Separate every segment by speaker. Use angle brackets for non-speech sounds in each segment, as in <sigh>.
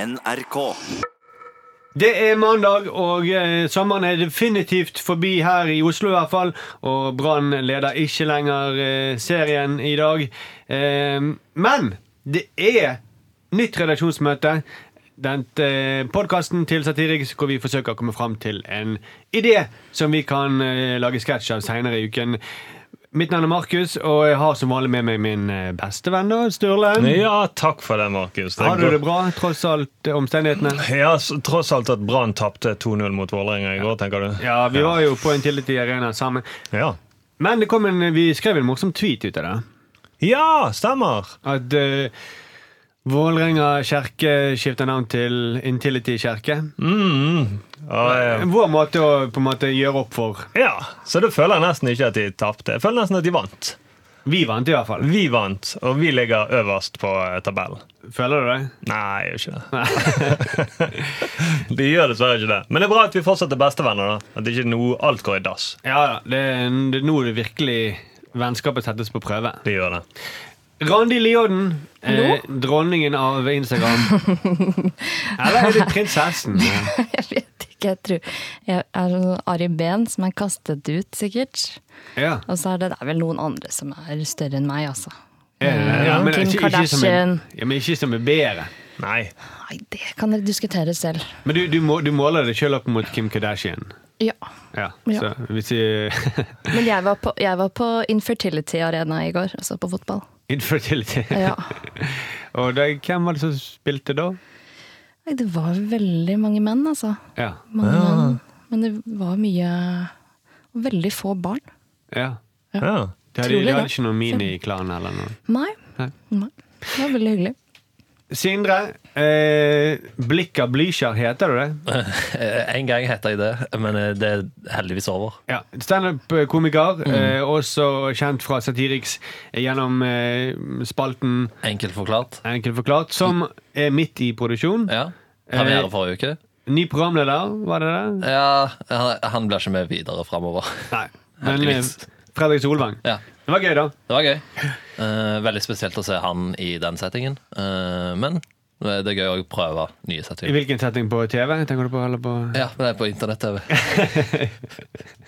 Speaker 1: NRK.
Speaker 2: Det er mandag, og eh, sommeren er definitivt forbi her i Oslo i hvert fall. Og Brann leder ikke lenger eh, serien i dag. Eh, men det er nytt redaksjonsmøte. Den eh, podkasten til Satiriks hvor vi forsøker å komme fram til en idé som vi kan eh, lage sketsj av seinere i uken. Mitt navn er Markus, og jeg har som vanlig med meg min eh, beste venn da, Sturle.
Speaker 3: Ja, takk for det, Markus.
Speaker 2: Har du
Speaker 3: går-
Speaker 2: det bra, tross alt eh, omstendighetene?
Speaker 3: Ja, s- Tross alt at Brann tapte 2-0 mot Vålerenga i går, tenker du?
Speaker 2: Ja, vi var jo på en Tillit i Arena sammen.
Speaker 3: Ja,
Speaker 2: Men det kom en, vi skrev en morsom tweet ut av det.
Speaker 3: ja stemmer!
Speaker 2: At uh, Vålerenga kirke skifter navn til Intility kirke.
Speaker 3: Mm. Og, eh,
Speaker 2: Vår måte å på en måte gjøre opp for
Speaker 3: ja, Så da føler jeg nesten ikke at de tapte. Jeg føler nesten at de vant.
Speaker 2: Vi vant, i hvert fall.
Speaker 3: Vi vant, og vi ligger øverst på eh, tabellen.
Speaker 2: Føler du det?
Speaker 3: Nei, jeg gjør ikke det. de gjør dessverre ikke det. Men det er bra at vi fortsatt er bestevenner. da. At ikke noe, alt går i dass.
Speaker 2: <laughs> Ja da. Det, er- det er nå det virkelig vennskapet settes på prøve.
Speaker 3: De gjør det.
Speaker 2: Randi Lioden, eh, dronningen av Instagram.
Speaker 4: <laughs>
Speaker 2: Eller er det prinsessen?
Speaker 4: Jeg vet ikke, jeg tror jeg er sånn Ari Behn som er kastet ut, sikkert.
Speaker 2: Ja.
Speaker 4: Og så er det, det er vel noen andre som er større enn meg, altså.
Speaker 2: Er det det? Ja, men
Speaker 4: Kim
Speaker 2: ikke, ikke som er,
Speaker 4: Kardashian.
Speaker 2: ja, men ikke som er bedre.
Speaker 3: Nei.
Speaker 4: Nei, det kan dere diskutere selv.
Speaker 2: Men du, du, må, du måler deg sjøl opp mot Kim Kardashian.
Speaker 4: Ja.
Speaker 2: Ja,
Speaker 4: Ja.
Speaker 2: så hvis vi <laughs>
Speaker 4: Men jeg var på, jeg var på Infertility Arena i går, altså på fotball.
Speaker 2: Infertility.
Speaker 4: Ja.
Speaker 2: <laughs> Og da, hvem var det som spilte da?
Speaker 4: Nei, det var veldig mange menn, altså.
Speaker 2: Ja.
Speaker 4: Mange menn. Men det var mye og Veldig få barn.
Speaker 2: ja.
Speaker 3: Ja.
Speaker 2: De hadde, de
Speaker 4: Utrolig,
Speaker 2: hadde
Speaker 4: da.
Speaker 2: ikke noen miniklan eller noe.
Speaker 4: Nei.
Speaker 2: Nei.
Speaker 4: Nei. Det var veldig hyggelig.
Speaker 2: Sindre, eh, Blikk av Blykjer heter du det?
Speaker 5: Eh, En gang heter jeg det, men eh, det er heldigvis over.
Speaker 2: Ja. Standup-komiker,
Speaker 4: Mm.
Speaker 2: eh, også kjent fra Satiriks eh, gjennom eh, spalten
Speaker 5: Enkelt forklart.
Speaker 2: Enkelt forklart, som er midt i produksjon.
Speaker 5: Ja. Premiere forrige uke.
Speaker 2: Ny programleder, var det
Speaker 4: <laughs>
Speaker 2: det?
Speaker 5: Ja, han, han blir ikke med videre framover.
Speaker 2: Nei. Men eh,
Speaker 5: Heldigvis.
Speaker 2: Fredrik Solvang.
Speaker 5: Ja.
Speaker 2: Det var gøy, da.
Speaker 5: Det var gøy. Eh, veldig spesielt å se han i den settingen. Eh, men det er gøy å prøve nye
Speaker 2: I
Speaker 5: settinger.
Speaker 2: hvilken setting? På TV? Tenker du på, eller <laughs> på
Speaker 5: Ja, men det er på internett-TV.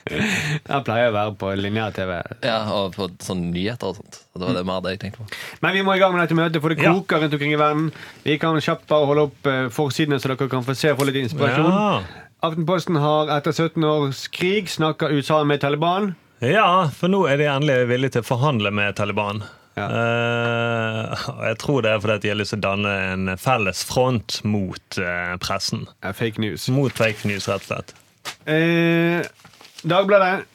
Speaker 2: Jeg pleier å være på lineær-TV.
Speaker 5: Ja, og på sånne nyheter og sånt. Og det var det mer det jeg tenkte på.
Speaker 2: Men vi må i gang med dette møtet, for det
Speaker 3: Ja.
Speaker 2: koker rundt omkring i verden. Vi kan kjapt bare holde opp eh, forsidene, så dere kan få se og få litt inspirasjon.
Speaker 3: Ja.
Speaker 2: Aftenposten har etter 17 års krig snakka USA med Taliban.
Speaker 3: Ja, for nå er de endelig villige til å forhandle med Taliban.
Speaker 2: Ja.
Speaker 3: Eh, og jeg tror det er fordi at de har lyst til å danne en felles front mot eh, pressen.
Speaker 2: Ja, fake news.
Speaker 3: Mot fake news, rett og slett.
Speaker 2: Eh, Dagbladet.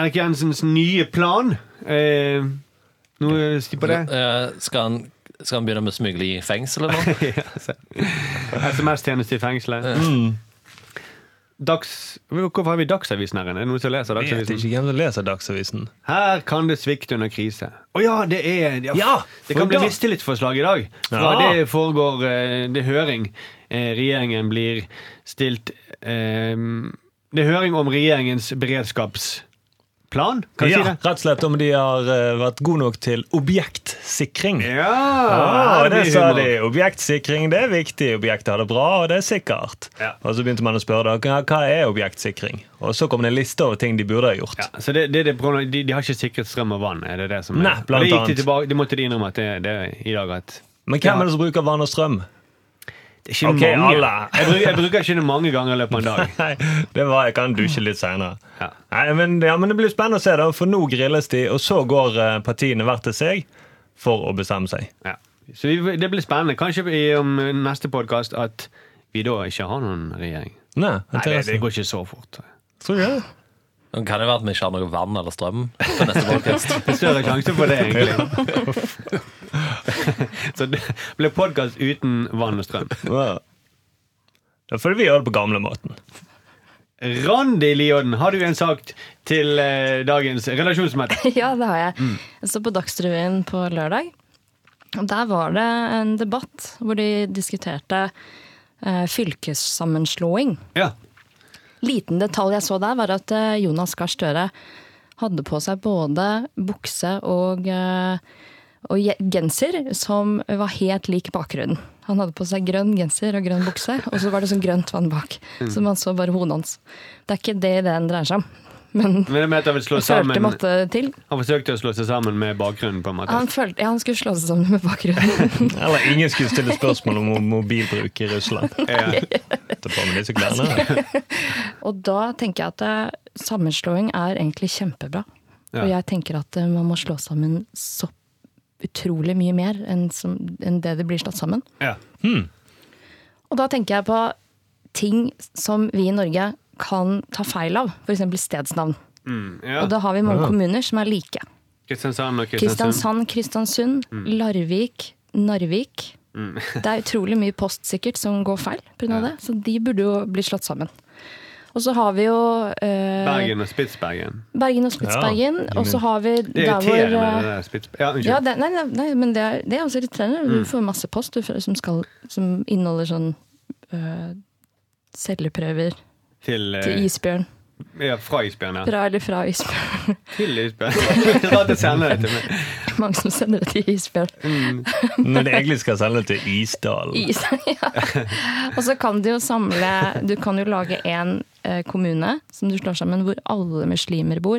Speaker 2: Erik Jensens nye plan. Eh, noe sti på det? <laughs>
Speaker 5: Eh, skal, han, skal han begynne med smugling i fengsel, eller noe?
Speaker 2: Ja, se. SMS-tjeneste i fengselet. Dags... Hvorfor har vi Dagsavisen her inne? Er det noen som leser
Speaker 3: Jeg vet
Speaker 2: Dagsavisen?
Speaker 3: ikke hvem som leser Dagsavisen.
Speaker 2: Her kan det svikte under krise. Å ja, det er
Speaker 3: Ja,
Speaker 2: Det kan
Speaker 3: for
Speaker 2: bli
Speaker 3: da-
Speaker 2: mistillitsforslag i dag. Fra
Speaker 3: Ja.
Speaker 2: det foregår eh, Det er høring. Eh, Regjeringen blir stilt eh, Det er høring om regjeringens beredskapsplan, kan jeg
Speaker 3: ja,
Speaker 2: si det?
Speaker 3: Rett og slett om de har eh, vært gode nok til objektsikring.
Speaker 2: Ja!
Speaker 3: Ah,
Speaker 2: her
Speaker 3: det
Speaker 2: blir
Speaker 3: sa
Speaker 2: humor.
Speaker 3: de. Objektsikring det er viktig. Objektet har det bra, og det er sikkert.
Speaker 2: Ja.
Speaker 3: Og så begynte man å spørre dere, ja, hva er objektsikring. Og så kom det en liste over ting de burde ha gjort.
Speaker 2: Ja, så det, det, er det, problemet. de, de har ikke sikret strøm og vann, er det det som er?
Speaker 3: Nei, blant
Speaker 2: det gikk de
Speaker 3: annet.
Speaker 2: tilbake, det måtte de innrømme at det, det er i dag at
Speaker 3: Men hvem
Speaker 2: Ja.
Speaker 3: er det som bruker vann
Speaker 2: <laughs>
Speaker 3: og strøm?
Speaker 2: Det er ikke
Speaker 3: Ok,
Speaker 2: mange.
Speaker 3: alle.
Speaker 2: <laughs> Jeg, bruker, jeg bruker ikke det mange ganger i løpet av en dag.
Speaker 3: Nei, det var, jeg kan dusje litt senere.
Speaker 2: Ja.
Speaker 3: Nei, men, ja, men det blir spennende å se, da, for nå grilles de, og så går eh, partiene hver til seg for å bestemme seg.
Speaker 2: Ja. Så vi, det blir spennende. Kanskje i om neste podkast at vi da ikke har noen regjering.
Speaker 3: Nei,
Speaker 2: Nei, det, det
Speaker 3: interessant.
Speaker 2: går ikke så fort.
Speaker 3: Tror jeg.
Speaker 5: Det kan jo være at vi ikke har noe vann eller strøm på neste podcast.
Speaker 2: Det er større sjanse for det, egentlig. <laughs> så det blir podkast uten vann og strøm.
Speaker 3: Wow. Da får vi gjøre det på gamlemåten.
Speaker 2: Randi Lioden, har du en sak til eh, dagens relasjonsmøte?
Speaker 4: <laughs> Ja, det har jeg. Jeg så på Dagsrevyen på lørdag. Og Der var det en debatt hvor de diskuterte eh, fylkessammenslåing.
Speaker 2: Ja.
Speaker 4: Liten detalj jeg så der, var at eh, Jonas Gahr Støre hadde på seg både bukse og, eh, og je- genser som var helt lik bakgrunnen. Han hadde på seg grønn genser og grønn bukse, og så var det sånn grønt vann bak. Så man så bare hodet hans. Det er ikke det ideen dreier seg om. Men
Speaker 2: Men det med at han vil slå
Speaker 4: han følte
Speaker 2: sammen
Speaker 4: måtte til.
Speaker 2: Han forsøkte å slå seg sammen med bakgrunnen, på en måte.
Speaker 4: Han, følte, ja, han skulle slå seg sammen med bakgrunnen.
Speaker 3: Eller ingen skulle stille spørsmål om mobilbruk i
Speaker 2: <laughs>
Speaker 3: Russland.
Speaker 2: Ja.
Speaker 3: Ta på med disse klærne.
Speaker 2: <laughs>
Speaker 4: Og da tenker jeg at eh, sammenslåing er egentlig kjempebra.
Speaker 2: Ja.
Speaker 4: Og jeg tenker at eh, man må slå sammen så utrolig mye mer enn, som, enn det det blir slått sammen.
Speaker 2: Ja.
Speaker 4: Og da tenker jeg på ting som vi i Norge kan ta feil av, f.eks. stedsnavn.
Speaker 2: Mm, ja.
Speaker 4: Og da har vi mange
Speaker 3: Ja.
Speaker 4: kommuner som er like.
Speaker 2: Kristiansand og Kristiansund. Mm.
Speaker 4: Kristiansand, Kristiansund, Larvik, Narvik.
Speaker 2: <laughs>
Speaker 4: Det er utrolig mye post sikkert som går feil pga. det, så de burde jo bli slått sammen. Og så har vi jo eh,
Speaker 2: Bergen og Spitsbergen.
Speaker 4: Bergen og Spitsbergen.
Speaker 3: Ja.
Speaker 4: og så har vi
Speaker 2: Det
Speaker 4: der hvor
Speaker 2: irriterer meg,
Speaker 4: eh,
Speaker 2: det der Mm. Spitsbergen. Ja, unnskyld.
Speaker 4: ja, det, nei, nei, nei, men det er, det er også irriterende. Du får masse post du, som, skal, som inneholder sånn eh, celleprøver
Speaker 2: Til, eh,
Speaker 4: til isbjørn.
Speaker 2: ja, fra isbjørn, ja.
Speaker 4: Fra eller fra isbjørn. <laughs>
Speaker 2: Til isbjørn. <laughs> Rart å sende det til meg.
Speaker 4: Mange som sender det til isbjørn.
Speaker 3: Når de egentlig skal sende til
Speaker 2: <laughs>
Speaker 3: Isdalen.
Speaker 4: Is, ja. Og så kan du jo samle Du kan jo lage en eh, kommune som du slår sammen, hvor alle muslimer bor.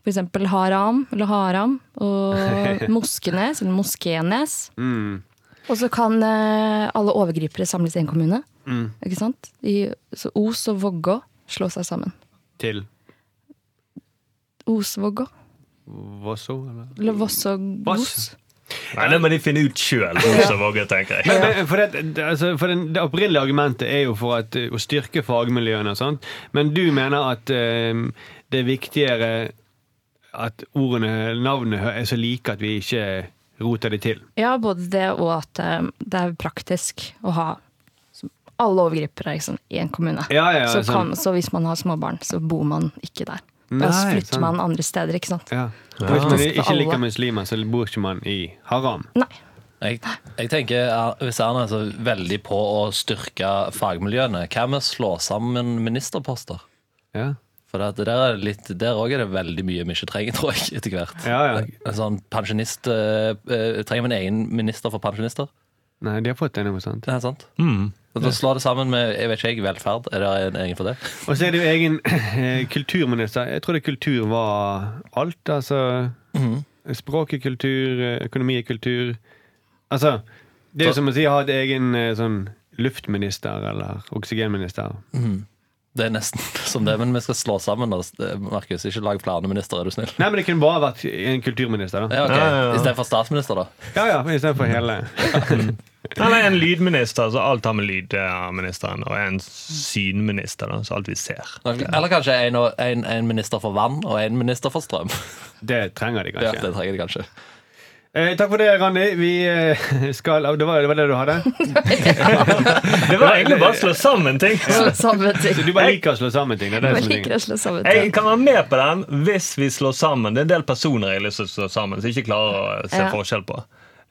Speaker 4: For eksempel Haram eller Haram
Speaker 2: <laughs>
Speaker 4: og Moskenes eller Moskenes.
Speaker 2: Mm.
Speaker 4: Og så kan eh, alle overgripere samles i en kommune.
Speaker 2: Mm.
Speaker 4: Ikke sant? I, så Os og Vågå slår seg sammen.
Speaker 2: Til
Speaker 4: Os-Vågå.
Speaker 2: Vosso, eller?
Speaker 4: Eller Voss og Os.
Speaker 2: Voss.
Speaker 3: Nei, det må de finne ut sjøl, tenker jeg.
Speaker 2: Men, men, for det, det- altså, for den, det opprinnelige argumentet er jo for at, eh, å styrke fagmiljøene. og sånt, Men du mener at eh, det er viktigere at ordene, navnene, hø- er så like at vi ikke roter det til.
Speaker 4: Ja, både det og at eh, det er praktisk å ha som- alle overgripere liksom, i en kommune.
Speaker 2: Ja, ja,
Speaker 4: så,
Speaker 2: sånn.
Speaker 4: kan, så hvis man har små barn, så bor man ikke der. Da
Speaker 2: Nei, sånn.
Speaker 4: flytter man andre steder, ikke sant.
Speaker 2: Ja. Og hvis man ikke
Speaker 4: alle.
Speaker 2: liker muslimer, så bor ikke man i haram.
Speaker 4: Nei.
Speaker 5: Jeg, jeg tenker er- Hvis Erna er så veldig på å styrke fagmiljøene, hva med å slå sammen ministerposter?
Speaker 2: Ja,
Speaker 5: For det, at der er det litt, der òg er det veldig mye vi ikke trenger, <laughs> tror jeg, etter hvert.
Speaker 2: ja. ja.
Speaker 5: En Sånn pensjonist eh, eh, Trenger vi en egen minister for pensjonister?
Speaker 2: Nei, de har fått det nå, sant?
Speaker 5: Det er sant. Og Da slår det sammen med jeg vet ikke, jeg, velferd. Er det en egen for det?
Speaker 2: Og så er det jo egen eh, kulturminister. Jeg trodde kultur var alt. Altså språk er kultur, eh, økonomi er kultur. Altså Det er jo
Speaker 5: Så-
Speaker 2: som å si ha et egen eh, sånn luftminister eller oksygenminister.
Speaker 5: Det er nesten <laughs> som det, men vi skal slå sammen. Da. Markus, ikke lag flere minister, er du snill.
Speaker 2: Nei, men det kunne bare vært en kulturminister, da.
Speaker 5: Ja, ok.
Speaker 3: Ja, ja, ja.
Speaker 5: Istedenfor statsminister, da.
Speaker 2: Ja ja, istedenfor hele.
Speaker 3: Eller en lydminister, så alt har med lydministeren. Og en synminister, da, så alt vi ser.
Speaker 5: Eller kanskje en, og- en, en minister for vann og en minister for strøm.
Speaker 2: Det trenger de
Speaker 5: Ja,
Speaker 2: kanskje.
Speaker 5: det trenger de kanskje.
Speaker 2: Eh, takk for det, Randi. Vi eh, skal av- det, var, det var det du hadde?
Speaker 3: Det var egentlig bare å slå sammen ting.
Speaker 2: <laughs>
Speaker 4: Slå sammen ting.
Speaker 2: Du bare liker å slå sammen ting. Det er det
Speaker 4: Man
Speaker 2: som er
Speaker 4: liker
Speaker 2: tingen.
Speaker 4: å slå sammen
Speaker 3: Jeg
Speaker 4: ting.
Speaker 3: kan være med på den hvis vi slår sammen. Det er en del personer jeg har lyst til å slå sammen, som jeg ikke klarer å se
Speaker 4: Ja.
Speaker 3: forskjell på.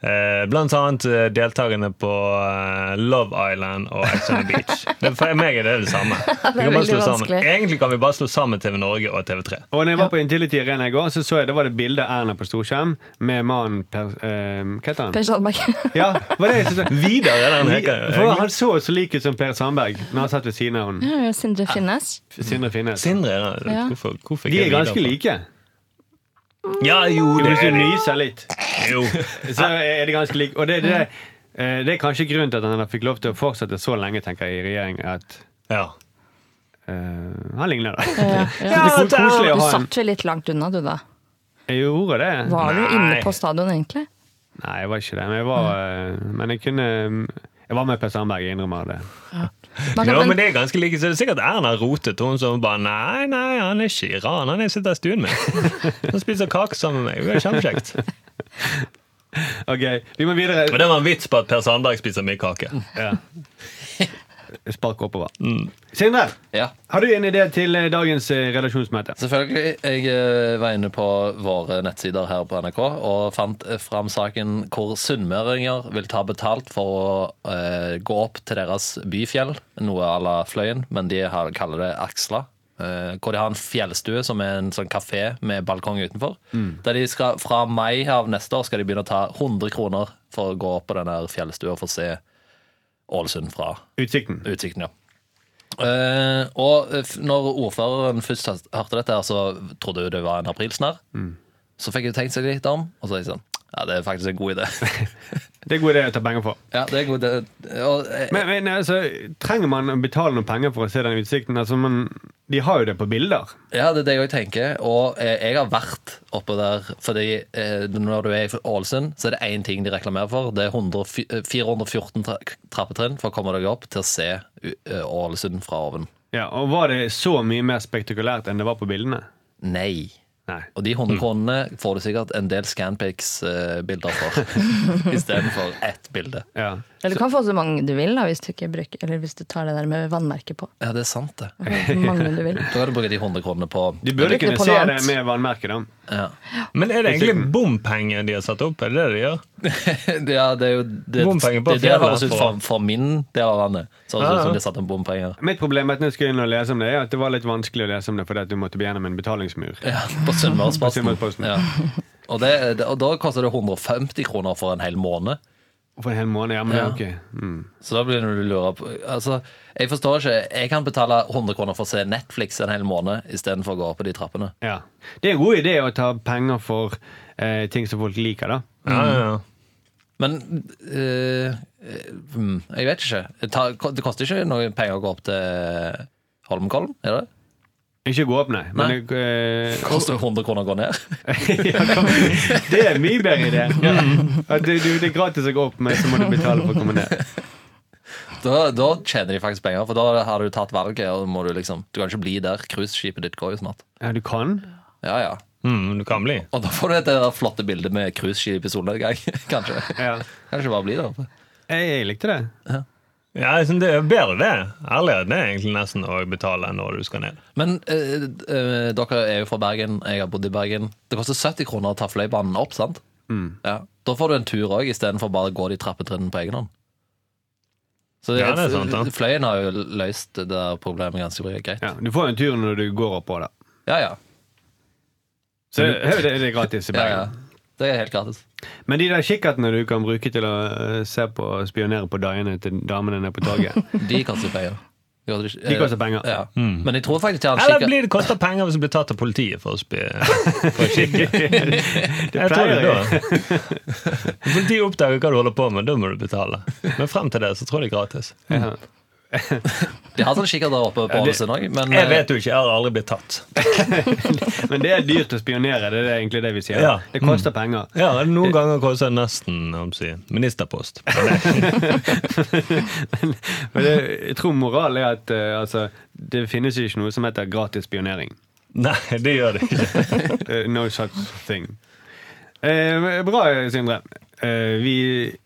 Speaker 3: Eh, Blant annet eh, deltakerne på eh, Love Island og Ex on the
Speaker 4: <laughs>
Speaker 3: Beach. Det, for meg er det det samme. Vi kan bare
Speaker 4: veldig
Speaker 3: slå sammen.
Speaker 4: vanskelig.
Speaker 3: Egentlig kan vi bare slå sammen TV Norge og TV3.
Speaker 2: Og når jeg var på Intility Arena i går, så så jeg det var det bilde av Erna på storskjerm med mannen per, eh, Hva heter han?
Speaker 4: Per Sandberg.
Speaker 2: Ja, var det jeg <laughs> synes
Speaker 3: Vidar er det han heter.
Speaker 2: For han så så lik ut som Per Sandberg når han satt ved siden av hun.
Speaker 4: Ja, Sindre
Speaker 2: <laughs>
Speaker 4: Finnes.
Speaker 2: Sindre Finnes.
Speaker 3: Sindre er det.
Speaker 4: Ja.
Speaker 3: Hvorfor, hvorfor
Speaker 2: De er
Speaker 3: ikke Vidar
Speaker 2: ganske
Speaker 3: på?
Speaker 2: like.
Speaker 3: Ja, jo, det
Speaker 2: Hvis du
Speaker 3: er de
Speaker 2: nyser litt,
Speaker 3: jo. <laughs>
Speaker 2: så er de ganske like. Og det, det, eh, det er kanskje grunnen til at han fikk lov til å fortsette så lenge, tenker jeg, i regjering, at
Speaker 3: Ja.
Speaker 2: eh, han ligner da.
Speaker 4: Ja,
Speaker 2: <laughs> Det
Speaker 4: ja.
Speaker 2: er koselig å
Speaker 4: Du
Speaker 2: ha en
Speaker 4: satt vel litt langt unna, du da.
Speaker 2: Jeg gjorde det.
Speaker 4: Var du
Speaker 3: Nei.
Speaker 4: inne på stadion, egentlig?
Speaker 2: Nei, jeg var ikke det. Men jeg var, eh, men jeg kunne Jeg var med Per Sandberg, jeg innrømmer det.
Speaker 4: Man kan-
Speaker 3: Jo, Altså, men
Speaker 4: men,
Speaker 3: det er ganske like, så det er sikkert Erna rotet. Hun som bare Nei, nei, han er ikke Iran. Han er sitter i <laughs> stuen min. Han spiser kake sammen med meg. Det er kjempekjekt.
Speaker 2: Ok, vi må videre.
Speaker 3: Men det var en vits på at Per Sandberg spiser mye kake.
Speaker 2: Ja. Spark oppover. Sindre,
Speaker 5: Ja.
Speaker 2: har du en idé til eh, dagens eh, redaksjonsmøte?
Speaker 5: Selvfølgelig. Jeg eh, var inne på våre nettsider her på NRK og fant eh, fram saken hvor sunnmøringer vil ta betalt for å eh, gå opp til deres byfjell, noe à la Fløyen, men de har, kaller det Aksla. eh, hvor de har en fjellstue som er en sånn kafé med balkong utenfor. Der de skal, Fra mai av neste år skal de begynne å ta 100 kroner for å gå opp på den der fjellstua og få se Ålesund fra
Speaker 2: Utsikten.
Speaker 5: Utsikten, ja. Eh, og f- når ordføreren først hø- hørte dette, her, så trodde hun det var en aprilsnarr. Så fikk hun tenkt seg litt om, og så er jeg sånn Ja, det er faktisk en god idé.
Speaker 2: Det er god idé å ta penger for.
Speaker 5: ja, det er en god idé. Og, eh,
Speaker 2: Men, men altså, trenger man å betale noen penger for å se den utsikten? Altså, man, de har jo det på bilder.
Speaker 5: Ja, det er det jeg også tenker. Og eh, jeg har vært oppe der. Fordi eh, når du er i Ålesund, så er det én ting de reklamerer for. Det er 100, eh, 414 tra trappetrinn for å komme deg opp til å se eh, Ålesund fra oven.
Speaker 2: Ja, Og var det så mye mer spektakulært enn det var på bildene?
Speaker 5: Nei.
Speaker 2: Nei.
Speaker 5: Og de 100 kronene får du sikkert en del Scanpics-bilder for. Istedenfor ett bilde.
Speaker 2: Ja.
Speaker 4: Eller du kan få så mange du vil da, hvis du, ikke bruker, eller hvis du tar det der med
Speaker 2: <laughs>
Speaker 4: vannmerke på.
Speaker 5: Ja, det er sant, det.
Speaker 4: Du kan få Så mange du vil.
Speaker 5: Da kan du bruke de 100 kronene på
Speaker 2: De
Speaker 4: Det
Speaker 2: burde
Speaker 4: ligner
Speaker 2: kunne
Speaker 4: på
Speaker 2: se
Speaker 4: noe
Speaker 2: det
Speaker 4: annet.
Speaker 2: med vannmerket, da.
Speaker 5: ja.
Speaker 3: Men er det egentlig bompenger de har satt opp? Er det det de gjør?
Speaker 5: ja, det er jo Det,
Speaker 3: Bompenger på
Speaker 5: det, det høres
Speaker 3: fjellet
Speaker 5: ut for, for min del av landet. Så høres
Speaker 3: Ja,
Speaker 5: det
Speaker 3: ja.
Speaker 5: ut som de satte opp bompenger.
Speaker 2: Mitt problem er at når jeg skulle inn og lese om det, er at det var litt vanskelig å lese om det fordi at du måtte gjennom en betalingsmur.
Speaker 5: Ja, på Sunnmørsposten.
Speaker 2: På Sunnmørsposten.
Speaker 5: Ja. Og, det, og da koster det 150 kroner for en hel måned.
Speaker 2: For en hel måned, ja, men det er
Speaker 5: Ja.
Speaker 2: ok. Mm.
Speaker 5: Så da blir du lura på Altså, jeg forstår ikke. Jeg kan betale 100 kroner for å se Netflix en hel måned istedenfor å gå opp på de trappene.
Speaker 2: Ja. Det er en god idé å ta penger for eh, ting som folk liker, da.
Speaker 3: Ja, ja, ja.
Speaker 5: Men eh, eh, hmm, Jeg vet ikke. Det tar- Det koster ikke noe penger å gå opp til Holmenkollen, er det? det?
Speaker 2: Ikke gå opp, nei. Men,
Speaker 5: Nei.
Speaker 2: eh,
Speaker 5: Det koster 100 kroner å gå ned.
Speaker 2: ja, kom, det er en mye bedre idé. At du, du, det er gratis å gå opp, men så må du betale for å komme ned.
Speaker 5: <laughs> Da, da tjener de faktisk penger, for da har du tatt valget. Og må du, liksom, du kan ikke bli der. Cruiseskipet ditt går jo snart.
Speaker 2: Ja, du kan?
Speaker 5: Ja, ja.
Speaker 3: Mm, du kan bli.
Speaker 5: Og da får du det der flotte bildet med cruiseskip i solnedgang. <laughs> Kanskje.
Speaker 2: Ja.
Speaker 5: Kanskje bare bli der oppe.
Speaker 2: Jeg, jeg likte det.
Speaker 3: Ja, jeg synes det er bedre det. Ærligere det er egentlig nesten å betale når du skal ned.
Speaker 5: Men eh, eh, dere er jo fra Bergen, jeg har bodd i Bergen. Det koster 70 kroner å ta fløibanen opp, sant? Ja. Da får du en tur òg, istedenfor bare å gå de trappetrinnene på egen hånd. Så
Speaker 3: Ja, det er sant, da.
Speaker 5: fløyen har jo løst det der problemet ganske bra. Greit.
Speaker 2: Ja, du får jo en tur når du går oppå, da.
Speaker 5: Ja, ja.
Speaker 2: Så det, det er gratis i
Speaker 5: ja,
Speaker 2: Bergen.
Speaker 5: ja. Det er helt gratis.
Speaker 2: Men de der kikkertene du kan bruke til å eh, se på og spionere på dagene til damene nede på <laughs> toget
Speaker 5: De koster penger. Gjør det ikke-
Speaker 2: De koster penger.
Speaker 5: Ja. Men jeg tror faktisk jeg
Speaker 3: Eller
Speaker 5: hadde
Speaker 3: blir det kosta penger hvis du blir tatt av politiet for å spi for å <laughs> kikke? Jeg tror det
Speaker 2: pleier
Speaker 3: da. <laughs> Politiet oppdager hva du holder på med, da må du betale. Men frem til det så tror jeg det er gratis.
Speaker 2: Ja.
Speaker 5: De har sånn kikkert der oppe på
Speaker 2: Ja, det-
Speaker 5: Ålesund òg, men
Speaker 3: Jeg vet jo ikke, jeg har aldri blitt tatt.
Speaker 2: Men det er dyrt å spionere, det er egentlig det vi sier.
Speaker 3: Ja.
Speaker 2: Det koster penger.
Speaker 3: <laughs> Ja, Noen ganger koster det nesten jeg må si, ministerpost.
Speaker 2: Men det, jeg tror moralen er at eh, altså, det finnes jo ikke noe som heter gratis spionering.
Speaker 3: <laughs> Nei, det gjør det ikke.
Speaker 2: Eh, no such thing. Eh, bra, Sindre. Eh, vi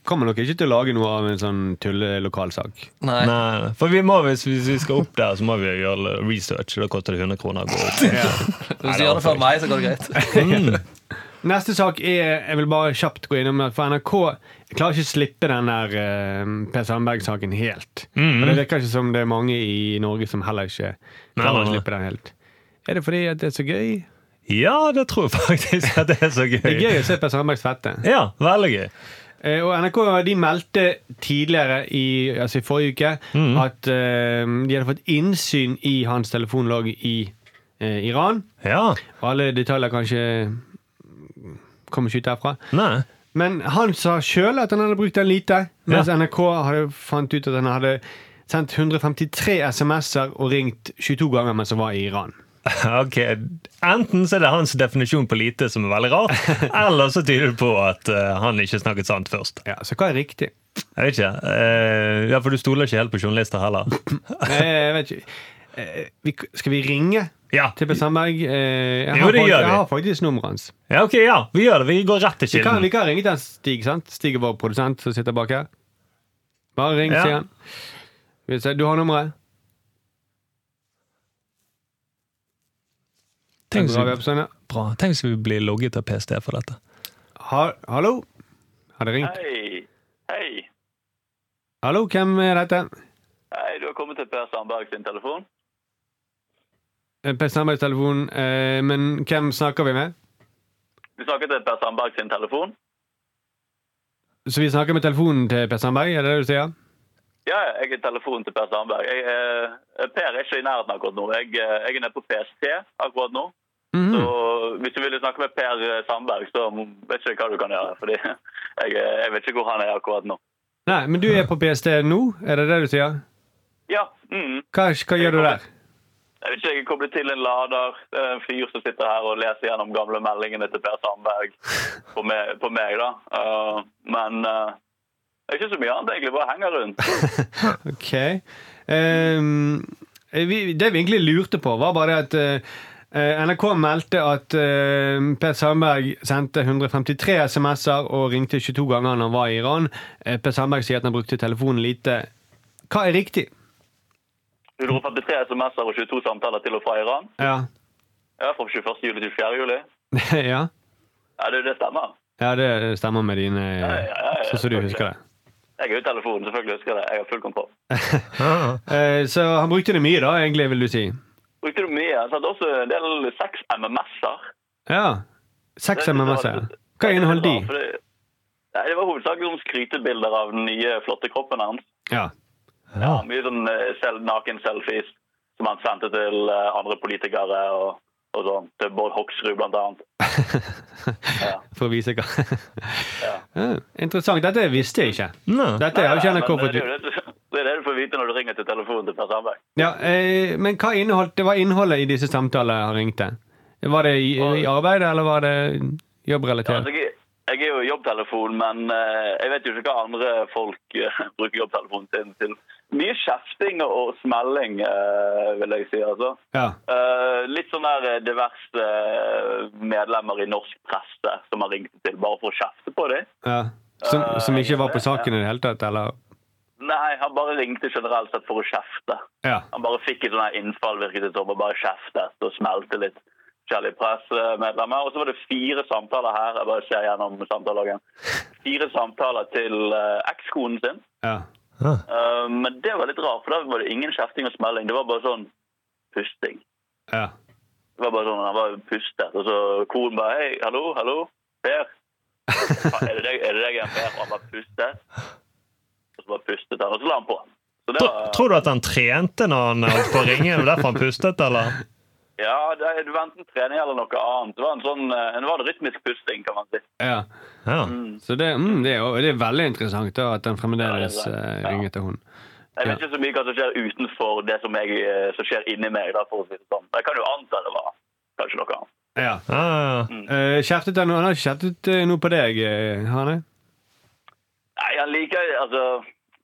Speaker 2: kommer nok ikke til å lage noe av en sånn tullelokalsak.
Speaker 5: eh, Nei.
Speaker 3: Nei, for vi må, hvis, hvis vi skal opp der, så må vi jo gjøre research. Da koster det 100 kroner å gå Mm. opp. <laughs>
Speaker 5: Hvis du gjør det før meg, så går det greit.
Speaker 2: Neste sak er Jeg vil bare kjapt gå innom det, for NRK jeg klarer ikke å slippe den der eh, Per Sandberg-saken helt. Og Det virker ikke som det er mange i Norge som heller ikke klarer
Speaker 3: Mm-hmm. Nei, nei,
Speaker 2: å
Speaker 3: nei.
Speaker 2: slippe den helt. Er det fordi at det er så gøy?
Speaker 3: Ja, det tror jeg faktisk at det er så
Speaker 2: Det er
Speaker 3: gøy.
Speaker 2: gøy å se Per Sandberg svette.
Speaker 3: Ja, veldig gøy.
Speaker 2: Eh, Og NRK de meldte tidligere, i, altså i forrige uke,
Speaker 3: Mm.
Speaker 2: at eh, de hadde fått innsyn i hans telefonlogg i eh, Iran.
Speaker 3: Ja,
Speaker 2: Og alle detaljer kanskje kommer ikke ut derfra.
Speaker 3: nei.
Speaker 2: Men han sa sjøl at han hadde brukt den lite, mens
Speaker 3: Ja.
Speaker 2: NRK hadde fant ut at han hadde sendt 153 SMS-er og ringt 22 ganger mens han var i Iran.
Speaker 3: <laughs> Ok, Enten så er det hans definisjon på lite som er veldig <laughs> rar, eller så tyder det på at eh, han ikke snakket sant først.
Speaker 2: Ja, Så hva er riktig?
Speaker 3: <laughs> Jeg vet ikke. eh, ja, For du stoler ikke helt på journalister heller.
Speaker 2: Eh, Jeg vet ikke. Eh, Vi, skal vi ringe
Speaker 3: Ja,
Speaker 2: til Per Sandberg? Eh, Jeg
Speaker 3: Jo,
Speaker 2: har,
Speaker 3: det
Speaker 2: fakt-
Speaker 3: gjør vi.
Speaker 2: jeg har faktisk nummeret hans.
Speaker 3: ja ok, ja, vi gjør det. Vi går rett til
Speaker 2: Vi kan, vi
Speaker 3: kilden.
Speaker 2: kan ringe til Stig, sant? Stig er vår produsent som sitter bak her. Bare ring,
Speaker 3: Ja.
Speaker 2: sier han. Skal vi se, Du har nummeret?
Speaker 3: Tenk
Speaker 2: Bra,
Speaker 3: så-
Speaker 2: vi er på sånn, ja.
Speaker 3: Bra. Tenk hvis vi blir logget av PST for dette.
Speaker 2: Ha, hallo? Har det ringt?
Speaker 1: Hei. Hei.
Speaker 2: Hallo, hvem er dette?
Speaker 1: Hei, du har kommet til Per Sandberg sin telefon.
Speaker 2: Eh, Per Sandbergs telefon, eh, men hvem snakker vi med?
Speaker 1: Du snakker til Per Sandberg sin telefon.
Speaker 2: Så vi snakker med telefonen til Per Sandberg, er det det du sier?
Speaker 1: Ja, jeg er telefonen til Per Sandberg. Jeg, eh, per er ikke i nærheten akkurat nå. Jeg, eh, jeg er nede på PST akkurat nå. Så
Speaker 3: Mhm.
Speaker 1: hvis du ville snakke med Per eh, Sandberg, så vet ikke jeg hva du kan gjøre. Fordi <laughs> jeg, eh, jeg vet ikke hvor han er akkurat nå.
Speaker 2: Nei, men du er på PST nå? Er det det du sier?
Speaker 1: Ja, mm.
Speaker 2: Hva, hva gjør du der?
Speaker 1: Jeg vet ikke, jeg er koblet til en lader. Det er en fyr som sitter her og leser gjennom gamle meldingene til Per Sandberg på meg, på meg da. Eh, men eh, det er ikke så mye annet, egentlig. Bare henger rundt.
Speaker 2: Ok. Ehm, vi, det vi egentlig lurte på, var bare det at eh, NRK meldte at eh, Per Sandberg sendte 153 SMS-er og ringte 22 ganger når han var i Iran. Eh, per Sandberg sier at han brukte telefonen lite. Hva er riktig?
Speaker 1: 153 SMS-er og 22 samtaler til og fra Iran.
Speaker 2: Ja. <laughs>
Speaker 1: Ja, Fra 21. juli til 24. juli.
Speaker 2: ja.
Speaker 1: Ja, det, det stemmer.
Speaker 2: ja, det stemmer med dine
Speaker 1: ja, ja,
Speaker 2: Sånn som du
Speaker 1: selvfølgelig.
Speaker 2: husker det.
Speaker 1: Jeg er jo i telefonen, selvfølgelig husker jeg det. Jeg har full kontroll.
Speaker 3: Ah.
Speaker 2: Eh, så han brukte det mye, da, egentlig, vil du si.
Speaker 1: Brukte du mye? Jeg satt også en del seks MMS-er.
Speaker 2: Ja. Seks MMS-er. Hva inneholder
Speaker 1: Det
Speaker 2: de?
Speaker 1: var- fordi- Nei, Det var hovedsakelig sånn skrytebilder av den nye, flotte kroppen hans.
Speaker 2: Ja.
Speaker 1: Ja, mye sånn eh, selv, naken-selfies som han sendte til eh, andre politikere og, og sånn. Til Bård Hoksrud, blant annet. Ja.
Speaker 2: For å vise hva
Speaker 1: Ja.
Speaker 2: Ja, Interessant. Dette visste jeg ikke.
Speaker 3: Nei.
Speaker 2: Dette har ikke
Speaker 1: Nei,
Speaker 2: NRK
Speaker 1: men
Speaker 2: fått
Speaker 1: det, er
Speaker 2: ut.
Speaker 1: jo det, det er det du <laughs> får vite når du ringer til telefonen til Per Sandberg.
Speaker 2: Ja, eh, men hva inneholdt, det var innholdet i disse samtalene han ringte? Var det i, i arbeid, eller var det
Speaker 1: Ja, altså,
Speaker 2: jobbrelatert?
Speaker 1: jeg, jeg er jo i jobbtelefon, men eh, jeg vet jo ikke hva andre folk eh, <laughs> bruker jobbtelefonen sin til. Mye kjefting og smelling, eh, vil jeg si. altså.
Speaker 2: Ja.
Speaker 1: Eh, litt sånn der eh, diverse eh, medlemmer i norsk presse som har ringt til bare for å kjefte på dem.
Speaker 2: ja. Som,
Speaker 1: Eh,
Speaker 2: som ikke var på saken i det hele tatt, eller?
Speaker 1: Nei, han bare ringte generelt sett for å kjefte.
Speaker 2: Ja.
Speaker 1: Han bare fikk et sånn her innfall, virket det som, og bare kjeftet og smelte litt forskjellige pressemedlemmer. Og så var det fire samtaler her. Jeg bare ser gjennom samtaleloggen. Fire samtaler til eh, ekskonen sin.
Speaker 2: Ja.
Speaker 1: Eh, men det var litt rart, for da var det ingen kjefting og smelling. Det var bare sånn pusting.
Speaker 2: ja.
Speaker 1: Det var bare sånn, Han var pustet, og så konen bare Hei, hallo, hallo, Per? Hva, Er det deg, er det deg igjen, Per? Og han bare pustet. Og så bare pustet han, og så la han på. Så det
Speaker 3: Tro-
Speaker 1: var,
Speaker 3: Tror du at han trente når han holdt på å ringe? Det var derfor han pustet, eller?
Speaker 1: Ja, det er det var enten trening eller noe annet. Det var en sånn, eh, det var en rytmisk pusting, kan man si.
Speaker 2: ja.
Speaker 3: Ja.
Speaker 2: Så det, mm, det, er, jo- det er veldig interessant da, at han fremdeles
Speaker 1: Ja, det
Speaker 2: eh,
Speaker 1: er det. Ja.
Speaker 2: ringer til hun.
Speaker 1: Jeg
Speaker 2: Ja.
Speaker 1: vet ikke så mye hva som skjer utenfor det som, jeg, eh, som skjer inni meg. Da, for å si det sånn. Jeg kan jo anta det var kanskje noe annet.
Speaker 2: Ja.
Speaker 3: Ah, ja.
Speaker 1: Mm.
Speaker 2: Eh, kjeftet han noe? Han har ikke kjeftet eh, noe på deg, eh, har han det?
Speaker 1: Nei, han liker altså,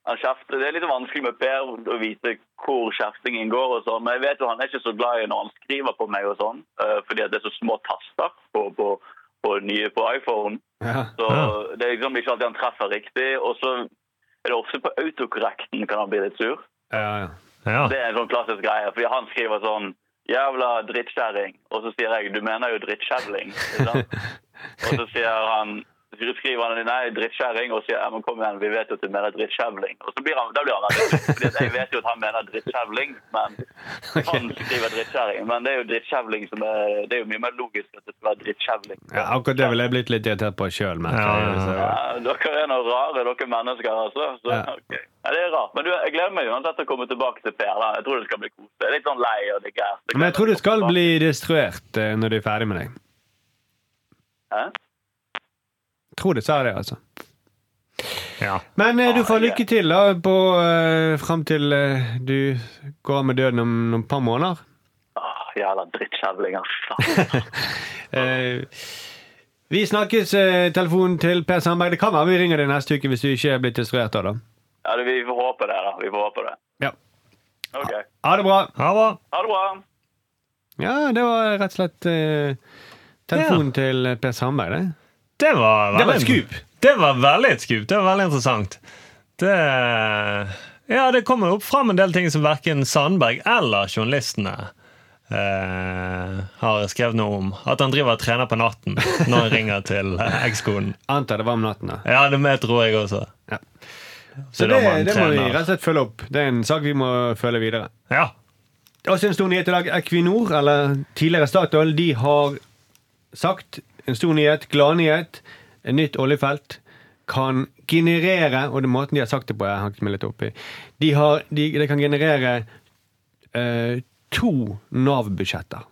Speaker 1: han kjefter. Det er litt vanskelig med Per å vite hvor kjeftingen går. og sånn, Men jeg vet jo han er ikke så glad i når han skriver på meg, og sånn, eh, fordi at det er så små taster på, på, på, nye, på iPhone.
Speaker 2: Ja.
Speaker 1: Så
Speaker 3: Ja.
Speaker 1: Det er liksom ikke alltid han treffer riktig. Og så er det ofte på autokorrekten kan han bli litt sur.
Speaker 2: Ja, ja.
Speaker 3: ja.
Speaker 1: Det er en sånn klassisk greie, fordi han skriver sånn Jævla drittkjerring. Og så sier jeg du mener jo drittkjevling. ikke sant? Og så sier han så skriver han nei, drittkjerring, og sier ja, men kom igjen, vi vet jo at du mener drittkjevling. Og så blir han, da blir han veldig sur, fordi at jeg vet jo at han mener drittkjevling, men han skriver drittkjerring. Men det er jo drittkjevling som er Det er jo mye mer logisk at det skal være drittkjevling.
Speaker 2: ja. Akkurat det ville jeg blitt litt irritert på sjøl, merker
Speaker 3: Ja,
Speaker 2: jeg. altså.
Speaker 3: ja,
Speaker 2: så-
Speaker 1: Ja, dere er noen rare, dere mennesker, altså. Så,
Speaker 2: Ja.
Speaker 1: ok. ja, det er rart. Men du, jeg gleder meg uansett å komme tilbake til Per. da. Jeg tror det skal bli koselig. Jeg er Litt sånn lei og det gærent.
Speaker 2: Men jeg tror du skal bli destruert eh, når du er ferdig med deg.
Speaker 1: Hæ?
Speaker 2: Tror det sa det, altså.
Speaker 3: ja.
Speaker 2: Men eh, du
Speaker 1: Ah,
Speaker 2: får
Speaker 1: ja.
Speaker 2: lykke til da på eh, fram til eh, du går av med døden om noen par måneder.
Speaker 1: Åh, jævla altså. drittkjevlinger.
Speaker 2: <laughs>
Speaker 1: faen.
Speaker 2: Eh, vi snakkes eh, telefonen til Per Sandberg. Det kan være vi ringer deg neste uke hvis du ikke er blitt destruert da, da.
Speaker 1: Ja, det- vi får håpe det, da. Vi får håpe det.
Speaker 2: Ja.
Speaker 1: Ok.
Speaker 2: Ha det bra.
Speaker 3: Ha det bra.
Speaker 1: Ha det bra.
Speaker 2: Ja, det var rett og slett eh, telefonen til Per Sandberg, det.
Speaker 3: Det var veldig
Speaker 2: Det var et skup.
Speaker 3: Det var veldig et skup. Det var veldig interessant. Det Ja, det kommer opp fram en del ting som verken Sandberg eller journalistene eh, har skrevet noe om. At han driver og trener på natten når han ringer til eh, ekskonen.
Speaker 2: Antar det var om natten, da.
Speaker 3: Ja, det med tror jeg også.
Speaker 2: Ja.
Speaker 3: Så,
Speaker 2: Så
Speaker 3: da
Speaker 2: det,
Speaker 3: han
Speaker 2: det må vi
Speaker 3: trener.
Speaker 2: rett og slett følge opp. Det er en sak vi må følge videre.
Speaker 3: Ja.
Speaker 2: Også en stor nyhet i dag. Equinor, eller tidligere Statoil, de har sagt en stor nyhet, gladnyhet, et nytt oljefelt. kan generere Og det er måten de har sagt det på, jeg har ikke meg litt opp i. De, har, de, de kan generere eh, to Nav-budsjetter.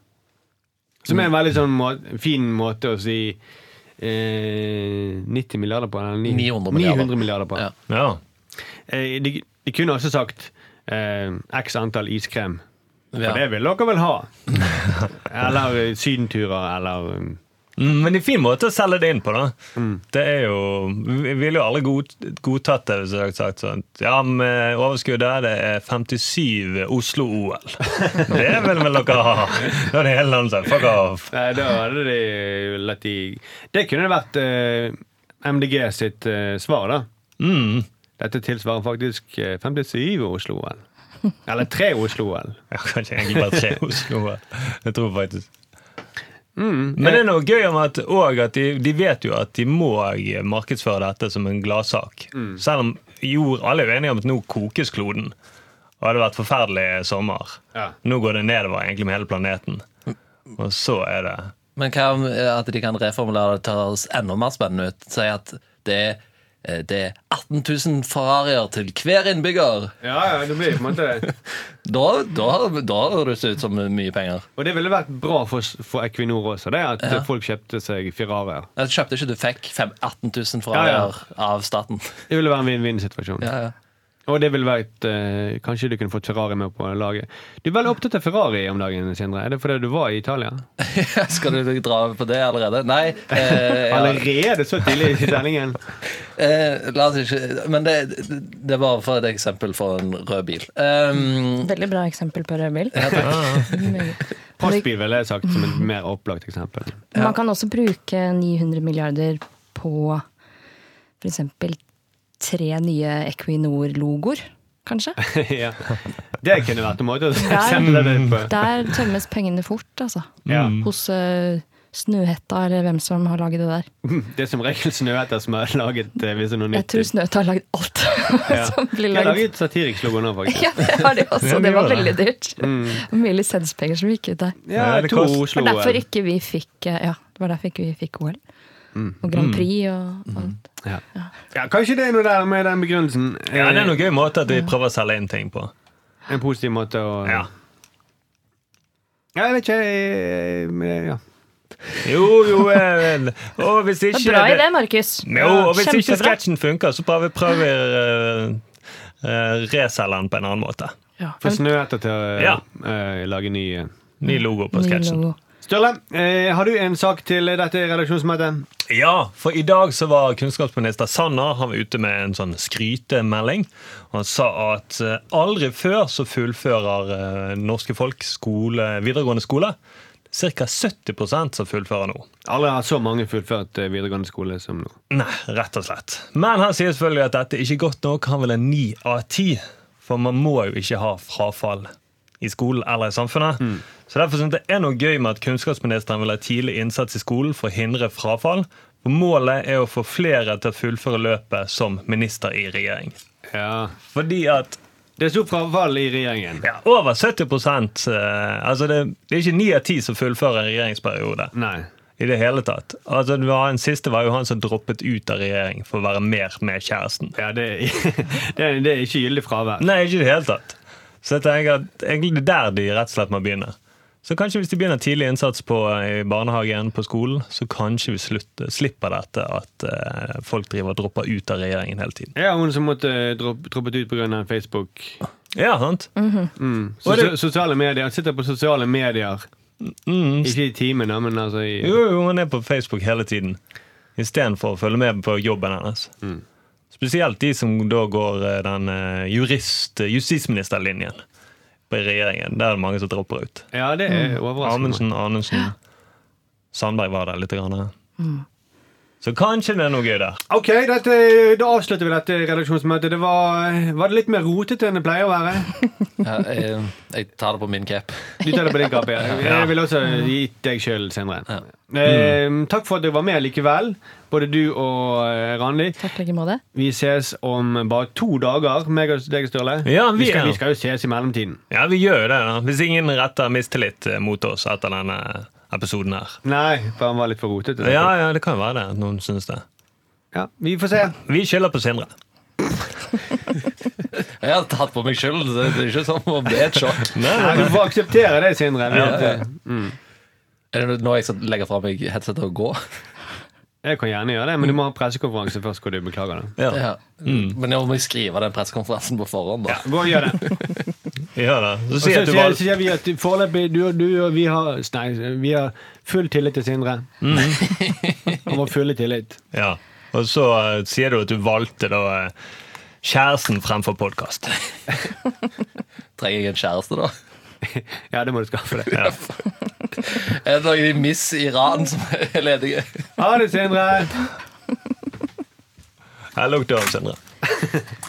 Speaker 2: Som er en veldig sånn må, fin måte å si eh, 90 milliarder på. Eller ni-
Speaker 5: 900 milliarder.
Speaker 2: 900 milliarder på.
Speaker 5: Ja.
Speaker 3: Ja.
Speaker 2: Eh, de, de kunne også sagt eh, x antall iskrem. For
Speaker 5: Ja.
Speaker 2: det vil dere vel ha? <laughs> eller eh, sydenturer, eller um,
Speaker 3: Mm, Men det er en fin måte å selge det inn på, da. Det er jo Vi ville jo alle god, godtatt det hvis jeg hadde sagt sånn Ja, med overskuddet det er 57 Oslo-OL. Det vil vel dere ha? Da er det hele landet sånn. Fuck off.
Speaker 2: Nei, da hadde de latt de Det kunne vært eh, MDG sitt eh, svar, da.
Speaker 3: Mm.
Speaker 2: Dette tilsvarer faktisk eh, 57 Oslo-OL. <laughs> Eller tre Oslo-OL.
Speaker 3: Ja, kanskje egentlig bare <laughs> tre Oslo-OL. Jeg tror faktisk Men det er noe gøy om at, og at de, de vet jo at de må eh, markedsføre dette som en gladsak. Selv om jo, alle er jo enige om at nå kokes kloden. Og det har vært forferdelig sommer.
Speaker 2: Ja.
Speaker 3: Nå går det nedover egentlig med hele planeten. Og så er det
Speaker 5: Men hva om eh, at de kan reformulere det til å høres enda mer spennende ut? Si at det er, eh, det er 18 000 Ferrarier til hver innbygger.
Speaker 2: Ja, ja, det blir på en måte det.
Speaker 5: Da, da, da høres det ut som mye penger.
Speaker 2: Og det ville vært bra for, for Equinor også, det at folk kjøpte seg Ferrarier.
Speaker 5: Jeg kjøpte ikke du fikk fem- 18
Speaker 2: Ja,
Speaker 5: 000
Speaker 2: ja.
Speaker 5: Ferrarier av staten.
Speaker 2: Det ville være en vinn-vinn-situasjon.
Speaker 5: Ja, ja.
Speaker 2: Og det ville vært eh, Kanskje du kunne fått Ferrari med på laget. Du er veldig opptatt av Ferrari om dagen, Sindre. Er det fordi du var i Italia?
Speaker 5: <laughs> Skal du dra på det allerede? Nei.
Speaker 2: <laughs>
Speaker 5: Eh, jeg-
Speaker 2: Allerede så tidlig
Speaker 3: <laughs>
Speaker 2: i sendingen?
Speaker 5: eh, la oss ikke Men det, det var for et eksempel for en rød bil. Um,
Speaker 4: Veldig bra eksempel på
Speaker 2: <laughs>
Speaker 4: rødbil. Meget.
Speaker 2: Postbil ville jeg sagt som et mer opplagt eksempel. <laughs>
Speaker 4: Man kan også bruke 900 milliarder på f.eks. tre nye Equinor-logoer, kanskje.
Speaker 2: ja. Det kunne vært en måte å
Speaker 4: Der-
Speaker 2: sende det på.
Speaker 4: Der tømmes pengene fort, altså.
Speaker 2: Ja.
Speaker 4: Hos eh, Snøhetta, eller hvem som har laget det der.
Speaker 2: Det er som regel Snøhetta som har laget eh, hvis det er noe
Speaker 4: Jeg
Speaker 2: nytt.
Speaker 4: tror Snøhetta har laget alt <laughs>
Speaker 2: Ja.
Speaker 4: som blir
Speaker 2: Jeg har
Speaker 4: laget.
Speaker 2: laget satirisk logo nå, faktisk.
Speaker 4: <laughs> Ja, det har de også.
Speaker 3: Ja, de
Speaker 4: Det var
Speaker 3: gjør
Speaker 4: veldig
Speaker 3: det.
Speaker 4: dyrt. Og Mye lisenspenger som gikk ut der.
Speaker 2: Ja,
Speaker 3: Ja, det
Speaker 2: to
Speaker 3: kost-
Speaker 4: Det
Speaker 2: Oslo
Speaker 4: var derfor ikke vi fikk eh, Ja, det var derfor ikke vi fikk OL. Og Grand Prix og alt.
Speaker 2: ja. ja, Kanskje det er noe der med den begrunnelsen.
Speaker 3: Ja, det er
Speaker 2: Eh,
Speaker 3: noen gøy måte at de prøver å selge inn ting på.
Speaker 2: En positiv måte å
Speaker 3: Ja.
Speaker 2: Ja, jeg vet ikke jeg, men, ja.
Speaker 3: Jo, jo eh, Og hvis
Speaker 4: Det
Speaker 3: ikke
Speaker 4: er bra idé, Markus.
Speaker 3: Jo, og hvis ikke
Speaker 4: Kjempebra.
Speaker 3: sketsjen funker, så prøver vi å reselge den på en annen måte.
Speaker 4: Ja.
Speaker 2: Få Snøhetta til å
Speaker 3: Ja.
Speaker 2: eh, lage ny eh.
Speaker 3: Ny logo på
Speaker 4: Ny
Speaker 3: sketsjen.
Speaker 4: logo.
Speaker 2: Sturle, eh, har du en sak til eh, dette redaksjonsmøtet?
Speaker 3: Ja, for i dag så var kunnskapsminister Sanner han var ute med en sånn skrytemelding. Han sa at eh, aldri før så fullfører eh, norske folk skole, videregående skole. Ca. 70 som fullfører nå.
Speaker 2: Alle har så mange fullført eh, videregående skole som nå.
Speaker 3: Nei, rett og slett. Men han sier selvfølgelig at dette ikke er godt nok. Han vil ha ni av ti. For man må jo ikke ha frafall i skolen eller i samfunnet. Så derfor synes jeg det er noe gøy med at kunnskapsministeren vil ha tidlig innsats i skolen for å hindre frafall. For målet er å få flere til å fullføre løpet som minister i regjering.
Speaker 2: Ja.
Speaker 3: Fordi at
Speaker 2: Det er stort frafall i regjeringen.
Speaker 3: ja, over 70 eh, Altså det, det er ikke ni av ti som fullfører en regjeringsperiode.
Speaker 2: Nei.
Speaker 3: I det hele tatt. Altså, det var, den siste var jo han som droppet ut av regjering for å være mer med kjæresten.
Speaker 2: Ja, det, er, <laughs> det, er, det er ikke gyldig fravær.
Speaker 3: Nei, ikke i det hele tatt. Så jeg tenker at egentlig det er der de rett og slett må begynne. Så kanskje hvis de begynner tidlig innsats på, eh, i barnehagen, på skolen, så kanskje vi slutter, slipper dette at eh, folk driver og dropper ut av regjeringen hele tiden.
Speaker 2: Ja, hun som måtte droppe, droppet ut pga. Facebook.
Speaker 3: Ja, sant?
Speaker 2: Sos,
Speaker 3: Og det-
Speaker 2: sosiale medier. Han sitter på sosiale medier. Ikke i timen, da, men altså i
Speaker 3: Mm. Jo, jo, hun er på Facebook hele tiden. Istedenfor å følge med på jobben hennes. Spesielt de som da går eh, den eh, jurist, justisministerlinjen på regjeringen. Der er det mange som dropper ut.
Speaker 2: Ja, det
Speaker 3: Mm.
Speaker 2: er overraskende.
Speaker 3: Amundsen, Anundsen. Sandberg var der litt. Grann, ja. Så kanskje det er noe gøy der.
Speaker 2: Ok, dette, Da avslutter vi dette redaksjonsmøtet. Det var, var det litt mer rotete enn det pleier å være?
Speaker 5: Ja, jeg, jeg tar det på min cap.
Speaker 2: Du tar det på din kappe. ja. Jeg vil også gi deg sjøl senere. Eh, takk for at du var med likevel, både du og eh, Randi.
Speaker 4: Takk i like måte.
Speaker 2: Vi ses om bare to dager, meg og deg, Sturle.
Speaker 3: Ja, vi
Speaker 2: skal,
Speaker 3: er-
Speaker 2: vi skal jo ses i mellomtiden.
Speaker 3: Ja, vi gjør jo det, da. Hvis ingen retter mistillit eh, mot oss etter denne eh, episoden her.
Speaker 2: Nei, for han var litt for rotete.
Speaker 3: Ja, ja, det kan jo være det. at Noen syns det.
Speaker 2: Ja, vi får se.
Speaker 3: Vi skylder på Sindre.
Speaker 5: Jeg har tatt på meg skyld. Det det er ikke som om det er et sjokk.
Speaker 2: Nei, du får akseptere det, Sindre. Vi
Speaker 5: Ja,
Speaker 2: at- eh,
Speaker 5: Er det nå jeg skal legge fra meg headsetet og gå?
Speaker 2: Jeg kan gjerne gjøre det, men du må ha pressekonferanse først hvor du beklager det.
Speaker 3: Ja.
Speaker 5: Ja. Mm. Men jeg må skrive den pressekonferansen på forhånd, da.
Speaker 2: Gå og gjør det.
Speaker 3: Gjør det. Så
Speaker 2: Og
Speaker 3: <laughs> si
Speaker 2: så
Speaker 3: at du
Speaker 2: sier,
Speaker 3: var
Speaker 2: så sier vi at foreløpig du, du og vi har Nei, vi har full tillit til Sindre.
Speaker 3: Mm.
Speaker 2: <laughs> Han var fulle tillit.
Speaker 3: Ja. Og så eh, sier du at du valgte da eh, kjæresten fremfor podkast.
Speaker 5: Trenger jeg en kjæreste, da?
Speaker 2: Ja, det må du skaffe deg.
Speaker 3: Ja.
Speaker 5: Er det noen i Miss Iran som er ledige?
Speaker 2: Ha det, Sindre!
Speaker 3: Her lukter det av Sindre.